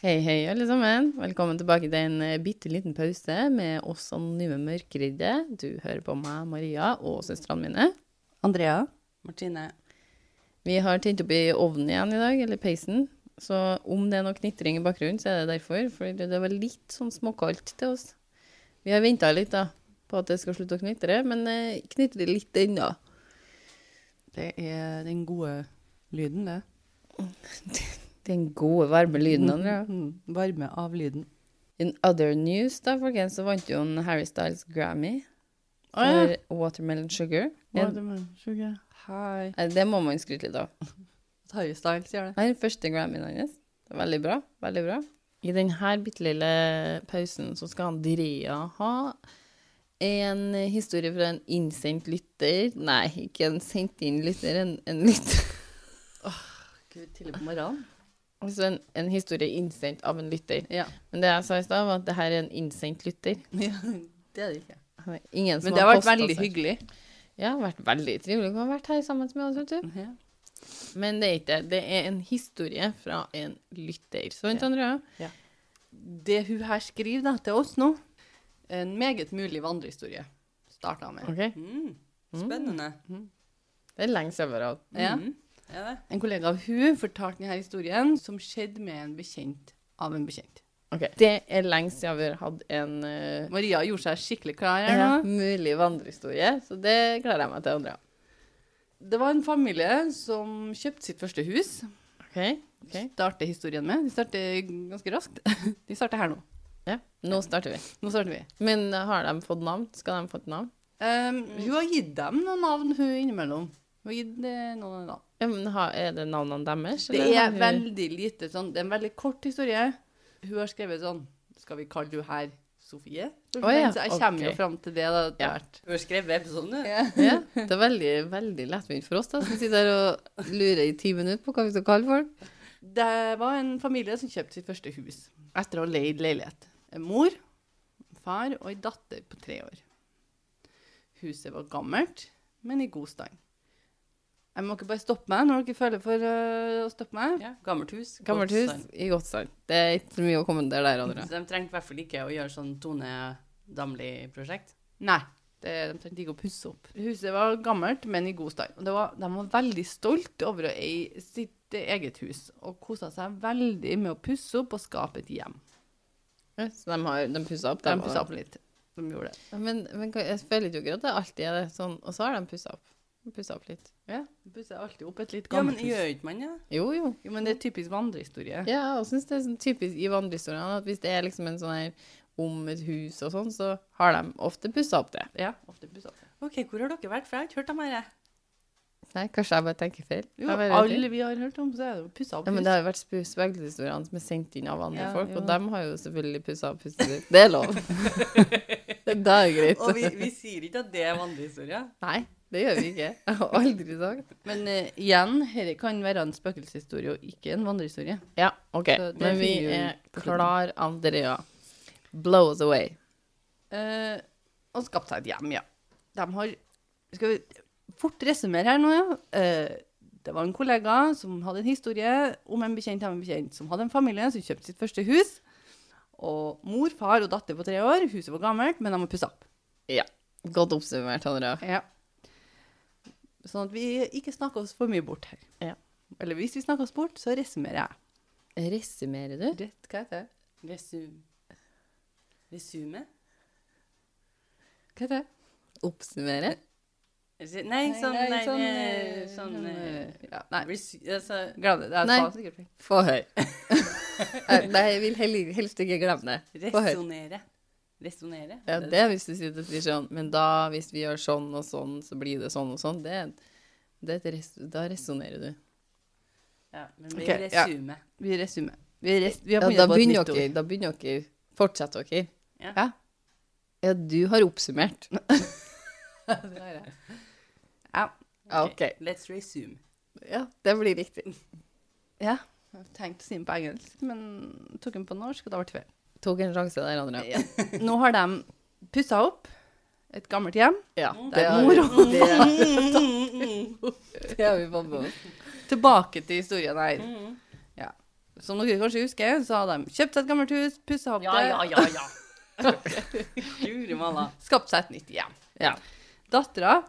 Hei, hei, alle sammen. Velkommen tilbake til en eh, bitte liten pause med oss anonyme mørkeredde. Du hører på meg, Maria, og søstrene mine. Andrea? Martine. Vi har tent opp i ovnen igjen i dag, eller peisen. Så om det er noe knitring i bakgrunnen, så er det derfor. For det var litt sånn småkaldt til oss. Vi har venta litt da, på at det skal slutte å knitre, men eh, knitrer litt ennå. Det er den gode lyden, det. Den gode, varme lyden, Andrea. Mm, varme av lyden. In other news, da, folkens, så vant jo en Harry Styles Grammy for Å, Watermelon Sugar. En, Watermelon-sugar. Hei. Nei, det må man skryte litt av. Harry Styles gjør det. Det er den første Grammyen hans. Det er Veldig bra. Veldig bra. I denne bitte lille pausen så skal Andrea ha en historie fra en innsendt lytter. Nei, ikke en sendt inn lytter, en, en lytter. Gud, tidlig på morgenen. Altså en, en historie innsendt av en lytter. Ja. Men det jeg sa i stad, var at det her er en innsendt lytter. ja. Det er det ikke. Ingen som Men det har vært postet veldig seg. hyggelig. Ja, det har vært veldig trivelig å ha vært her sammen med oss, vet du. Ja. Men det er ikke det. Det er en historie fra en lytter. Sant, Andrea? Det hun her skriver da, til oss nå, en meget mulig vandrehistorie, starta med. Mm. Ok. Mm. Spennende. Det er lenge siden vi har hatt Ja. Mm. Er det? En kollega av hun fortalte denne historien som skjedde med en bekjent av en bekjent. Ok, Det er lenge siden vi har hatt en eh, Maria gjorde seg skikkelig klar her nå. ja, mulig vandrehistorie, så det gleder jeg meg til, Andrea. Det var en familie som kjøpte sitt første hus. Ok, ok. Starter historien med. De starter ganske raskt. De starter her nå. Ja, Nå starter vi. Nå starter vi. Men har de fått navn? Skal de få et navn? Ehm, Mm. hun har gitt dem noen navn hun innimellom. Hun har gitt eh, noen navn. Ja, men har, Er det navnene deres? Det eller har er du- veldig lite sånn, det er en veldig kort historie. Hun har skrevet sånn, skal vi kalle du her Sofie? Å ja, Så jeg kommer ok. jo frem til det da, etter Ja. hvert. Du har skrevet episoden, du. ja, Det er veldig, veldig lettvint for oss da, som sitter her og lurer i ti minutter på hva vi skal kalle folk. Det var en familie som kjøpte sitt første hus etter å ha leid leilighet. En mor, en far og en datter på tre år. Huset var gammelt, men i god stand. Jeg må ikke bare stoppe meg når dere føler for øh, å stoppe meg. Ja. Gammelt hus. godt Gammelt hus stand. i godt stand. Det er ikke så mye å kommentere der, Andrea. Så de trengte i hvert fall ikke å gjøre sånn Tone Damli-prosjekt. Nei, det, de trengte ikke å pusse opp. Huset var gammelt, men i god stand. Og det var, de var veldig stolt over å eie sitt eget hus, og kosa seg veldig med å pusse opp og skape et hjem. Ja, Så de, har, de pusset opp? De dem, pussa da. opp litt. De gjorde det. Ja, Men, men hva- jeg føler jo ikke at det alltid er det sånn. Og så har de pussa opp. De pusset opp litt. Ja, de pusser alltid opp et litt Ja, men gammelt hus. gjør ikke man det? Jo, jo. Jo, men det er typisk vandrehistorie. Ja, og synes det er sånn typisk i vandrehistoriene at hvis det er liksom en sånn her om et hus og sånn, så har de ofte pussa opp det. Ja, ofte bussa. OK, hvor har dere vært? For jeg har ikke hørt om dette. Nei, kanskje jeg bare tenker feil? Jo, Jeg bare- alle vi har hørt om, så er det jo pussa opp Ja, men hus. det har jo vært sp- spøkelseshistoriene som er sendt inn av andre Ja, folk, jo. og de har jo selvfølgelig pussa opp huset sitt. Det er lov. det er greit. Og vi, vi sier ikke at det er vandrehistorie. Nei, det gjør vi ikke. Jeg har aldri sagt. Men eh, igjen, dette kan være en spøkelseshistorie og ikke en vandrehistorie. Ja, OK. Så det Men vi finner jo er på slutten. klar, Andrea. Blow us away. Eh, og skapt seg et hjem, ja. De har Skal vi fort resumere her nå, ja? Eh, det var en kollega som hadde en historie om en bekjent av en bekjent som hadde en familie som kjøpte sitt første hus. Og mor, far og datter på tre år. Huset var gammelt, men de må pusse opp. Ja. Godt oppsummert, Andrea. Ja. Sånn at vi ikke snakker oss for mye bort her. Ja. Eller hvis vi snakker oss bort, så resumerer jeg. Resumerer du? Rett, hva heter det? Resum... Resume? Hva heter det? Oppsummere? Resu- Nei, sånn Nei, sånn, eh, sånn, eh, ja, Nei, resu- altså, glem det. Det er Nei. faen sikkert feil. Få høre. Eh, Nei, jeg vil heller, helst ikke glemme det. Få sånn. høre. Resonnere. Resonnere. Ja, det er hvis du sier det sier sånn, men da, hvis vi gjør sånn og sånn, så blir det sånn og sånn. Det, er- det er et res da resonnerer du. Ja, men vi Ok, ja. resume. Vi resumer. Vi, res vi har Ja, funnet da på et begynner nytt dere. ord. Da begynner dere. Fortsett dere. Ja. Ja. Ja, du har oppsummert. Ja. Ja, OK. Let's resume. Ja, det blir riktig. ja. Jeg tenkte å si den på engelsk, men tok den på norsk, og da ble det feil. Tok en sjanse der, Andrea. Ja. Nå har de pussa opp et gammelt hjem. Ja, Mm. Det er har- moro. Det, Mm, mm, mm. det har vi fått med oss. Tilbake til historien her. Mm. Ja. Som dere kanskje husker, så hadde de kjøpt seg et gammelt hus, pussa opp Ja, det, ja, ja. ja. Guri malla. skapt seg et nytt hjem. Ja. Dattera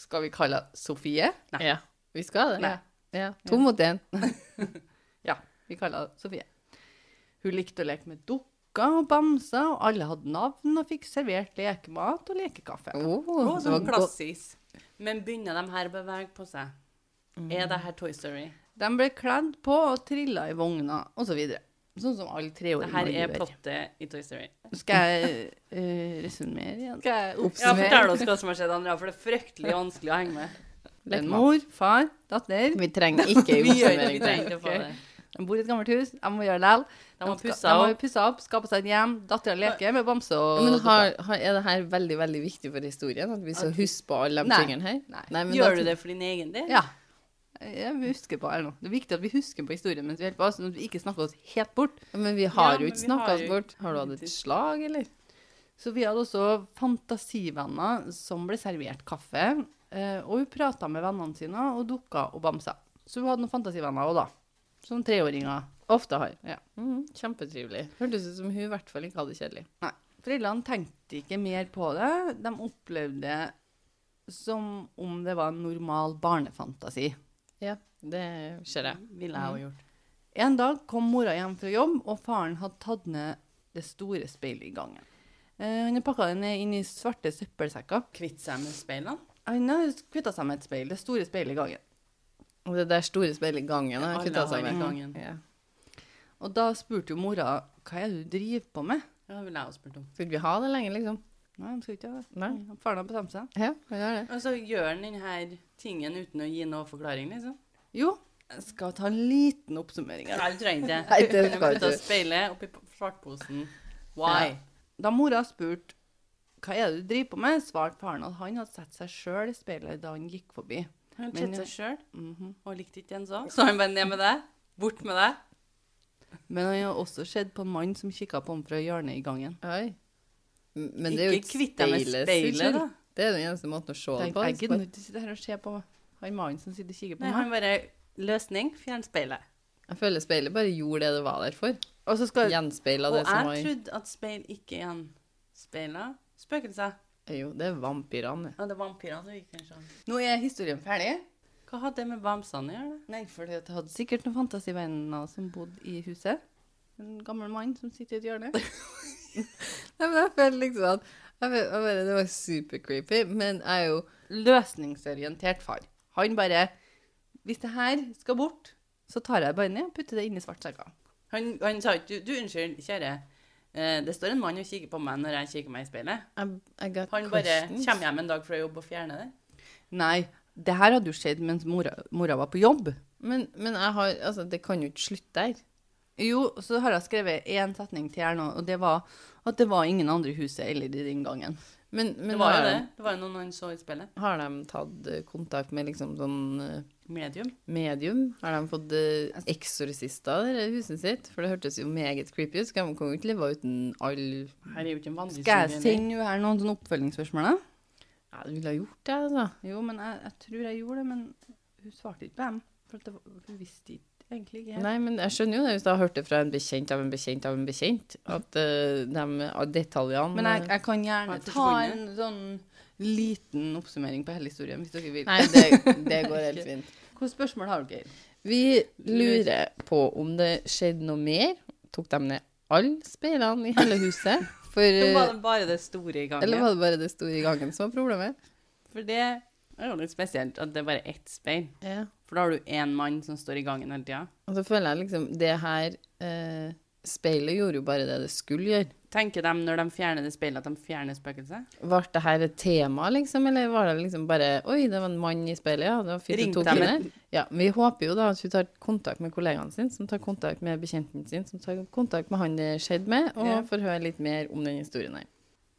skal vi kalle henne Sofie. Nei. Ja. Vi skal det. Nei. Ja. To mot én. Ja, vi kaller henne Sofie. Hun likte å leke med dukker og bamser, og alle hadde navn og fikk servert lekemat og lekekaffe. Oh, Å, det var sånn godt. klassisk. Men begynner de her å bevege på seg? Er det her Toy Story? De ble kledd på og trilla i vogna, osv. Sånn som alle Det treåringer her er gjør. plottet i Toy Story. Skal jeg eh, resumere igjen? Ja, Oppsummer. fortell oss hva som har skjedd, Andrea, for det er fryktelig vanskelig å henge med. Det er Lekk en mat. mor, far, datter. Vi trenger ikke Vi gjør ikke- vi oppsummering. trenger ikke å få det. De bor i et gammelt hus. De må gjøre det likevel. De må skal- pusse de må opp. pusse opp, skape seg et hjem. Dattera leker med bamse og Men har, har, er det her veldig veldig viktig for historien? At vi skal huske på alle de Nei. tingene her? Nei. men da- Gjør du det for din egen del? Ja. Jeg husker på eller noe. Det er viktig at vi husker på historien mens vi holder på, sånn at vi ikke snakker oss helt bort. Men vi har Ja, jo men ikke vi snakka har oss jo bort. Har du hatt et slag, eller? Så vi hadde også fantasivenner som ble servert kaffe, eh, og hun prata med vennene sine og dukka og bamsa. Så hun hadde noen fantasivenner òg, da. Som treåringer ofte har. Ja. Mhm, kjempetrivelig. Hørtes ut som hun i hvert fall ikke hadde det kjedelig. Nei. Foreldrene tenkte ikke mer på det. De opplevde det som om det var en normal barnefantasi. Ja, det ser jeg. Ville jeg jo gjort. En dag kom mora hjem fra jobb, og faren hadde tatt ned det store speilet i gangen. Eh, han hadde pakka det ned inn i svarte søppelsekker. Kvitt seg med speilene? Han hadde kvitta seg med et speil, det store speilet i gangen. Og det der store speilet i gangen har Alle kutta seg har det i med. gangen. Ja. Og da spurte jo mora hva er det du driver på med. Ja, det ville jeg også spurt om. Skulle vi ha det lenge, liksom? Nei, han skulle ikke ha det. Nei? Faren hadde bestemt seg. Ja, vi gjør det. Og så gjør han denne tingen uten å gi noe forklaring, liksom. Jo, jeg skal ta en liten oppsummering. her. Nei, du trenger ikke Nei, det Du skal putter du. speilet oppi p- svartposen. Why? Da mora spurte hva er det du driver på med, svarte faren at han hadde sett seg sjøl i speilet da han gikk forbi. Han Men- kjente seg sjøl Mhm. og likte ikke en sånn. Så han bare ned med deg. Bort med deg. Men han hadde også sett på en mann som kikka på ham fra hjørnet i gangen. Oi. M- Men det er jo Ikke kvitt deg med speilet speilet, sin skyld. da. Det er den eneste måten å se det Tenk, på. jeg altså. gidder ikke sitte her og se på han mannen som sitter og kikker på Nei, han meg. bare Løsning fjern speilet. Jeg føler speilet bare gjorde det det var der for. Og så skal Gjenspeila Og det jeg som var i- trodde at speil ikke gjenspeila spøkelser. Jo, det er vampyrene. Ja, det er vampyrene som gikk kanskje sånn. Nå er historien ferdig. Hva hadde det med bamsene å gjøre? da? Nei, for det hadde sikkert noen fantasivenner som bodde i huset. En gammel mann som sitter i et hjørne. Nei, men jeg føler liksom at jeg vet, jeg vet, Det var super creepy, men jeg er jo Løsningsorientert far. Han bare Hvis det her skal bort, så tar jeg det bare ned og putter det inn i svartsekka. Han, han sa ikke du, du, unnskyld, kjære. eh, Det står en mann og kikker på meg når jeg kikker meg i speilet. I, I got Han bare questions. kommer hjem en dag fra jobb og fjerner det. Nei, det her hadde jo skjedd mens mora, mora var på jobb. Men, men jeg har, altså, det kan jo ikke slutte der. Jo, så har jeg skrevet én setning til her nå, og det var at det var ingen andre i huset eller i den gangen. Men, men Det var jo har, det. Det var jo noen han så i speilet. De, har de tatt eh, kontakt med liksom sånn eh, Medium. medium? Har de fått eh, eksorsister der i huset sitt? For det hørtes jo meget creepy ut. Så kan kan jo ikke leve uten all Her er jo ikke en vanlig Skal jeg suggerøy. sende jo her noen sånne oppfølgingsspørsmål? da? Ja, du ville ha gjort det, altså. Jo, men jeg, jeg tror jeg gjorde det, men hun svarte ikke på dem. For at det var, hun visste ikke, egentlig ikke helt. Nei, men jeg skjønner jo det hvis jeg har hørt det fra en bekjent av en bekjent av en bekjent. At eh, de av detaljene eh, Men jeg, jeg kan gjerne Har jeg ta forsvunnet? en sånn liten oppsummering på hele historien, hvis dere vil. Nei, det, det går helt fint. Hvilke spørsmål har dere? Vi lurer på om det skjedde noe mer. Tok de ned alle speilene i hele huset? For, Så var eh, det bare det store i eller gangen. var det bare det store i gangen som var problemet? For det er jo litt spesielt at det er bare ett speil. Ja. For da har du én mann som står i gangen hele tida. Og så føler jeg liksom Det her eh, Speilet gjorde jo bare det det skulle gjøre. Tenker de når de fjerner det speilet, at de fjerner spøkelset? Ble det her et tema, liksom? Eller var det liksom bare Oi, det var en mann i speilet, ja. Det var fint du Ringte tok dem inn et- her. Ja, vi håper jo da at hun tar kontakt med kollegaen sin, som tar kontakt med bekjenten sin, som tar kontakt med han det skjedde med, og Ja. får høre litt mer om den historien her.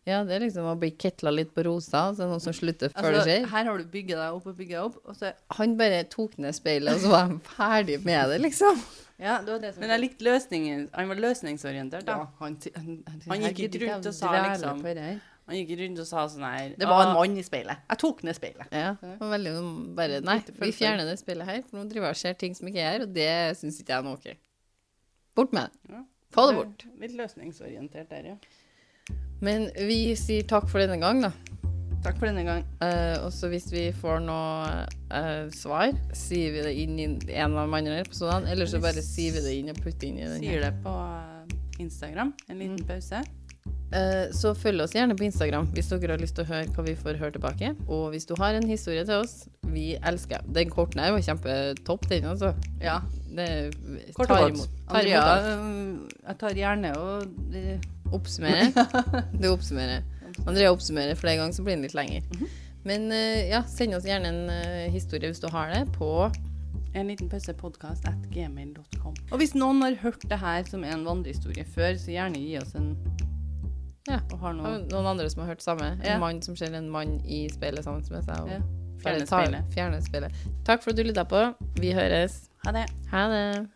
Ja, det er liksom å bli ketla litt på rosa, så er det noen som slutter før Altså, det skjer. her har du bygget deg opp og bygget deg opp, og så Han bare tok ned speilet, og så var han ferdig med det, liksom. Ja, det var det som Men jeg likte løsningen. Han var løsningsorientert, ja, da. han, t- han, Han her gikk gidder ikke jeg rundt å og sa dvele liksom- på det her. Han gikk rundt og sa sånn her Det var en «Ah, mann i speilet. Jeg tok ned speilet. Ja, sånn det var veldig bare Nei, vi fjerner det speilet her, for nå driver jeg og ser ting som ikke er her, og det syns ikke jeg er noe ok. Bort med det. Ja. Få det bort. Litt løsningsorientert der, ja. Men vi sier takk for denne gang, da. Takk for denne gang. Eh, og så hvis vi får noe eh, svar, sier vi det inn i en av de andre episodene. Eller så bare sier vi det inn og putter inn i den her. Sier det på eh, Instagram. En liten pause. Eh, så følg oss gjerne på Instagram hvis dere har lyst til å høre hva vi får høre tilbake. Og hvis du har en historie til oss, vi elsker Den korten her var kjempetopp, den, altså. Ja. Det, Kort tar og godt. imot. Tar Andrea, imot alt. øh, jeg tar gjerne og eh, øh, Oppsummere. Det oppsummerer. Andrea oppsummerer flere ganger, så blir den litt lenger. Mhm. Men eh, ja, send oss gjerne en eh, historie hvis du har det, på En liten pause podcast at gmail.com. Og hvis noen har hørt det her som en vandrehistorie før, så gjerne gi oss en Ja. Og har noe Og noen andre som har hørt samme. En Ja. mann som ser en mann i speilet sammen med seg. Og Ja. bare Fjerne tar- speilet. Fjerne speilet. Takk for at du lytta på. Vi høres. Ha det. Ha det.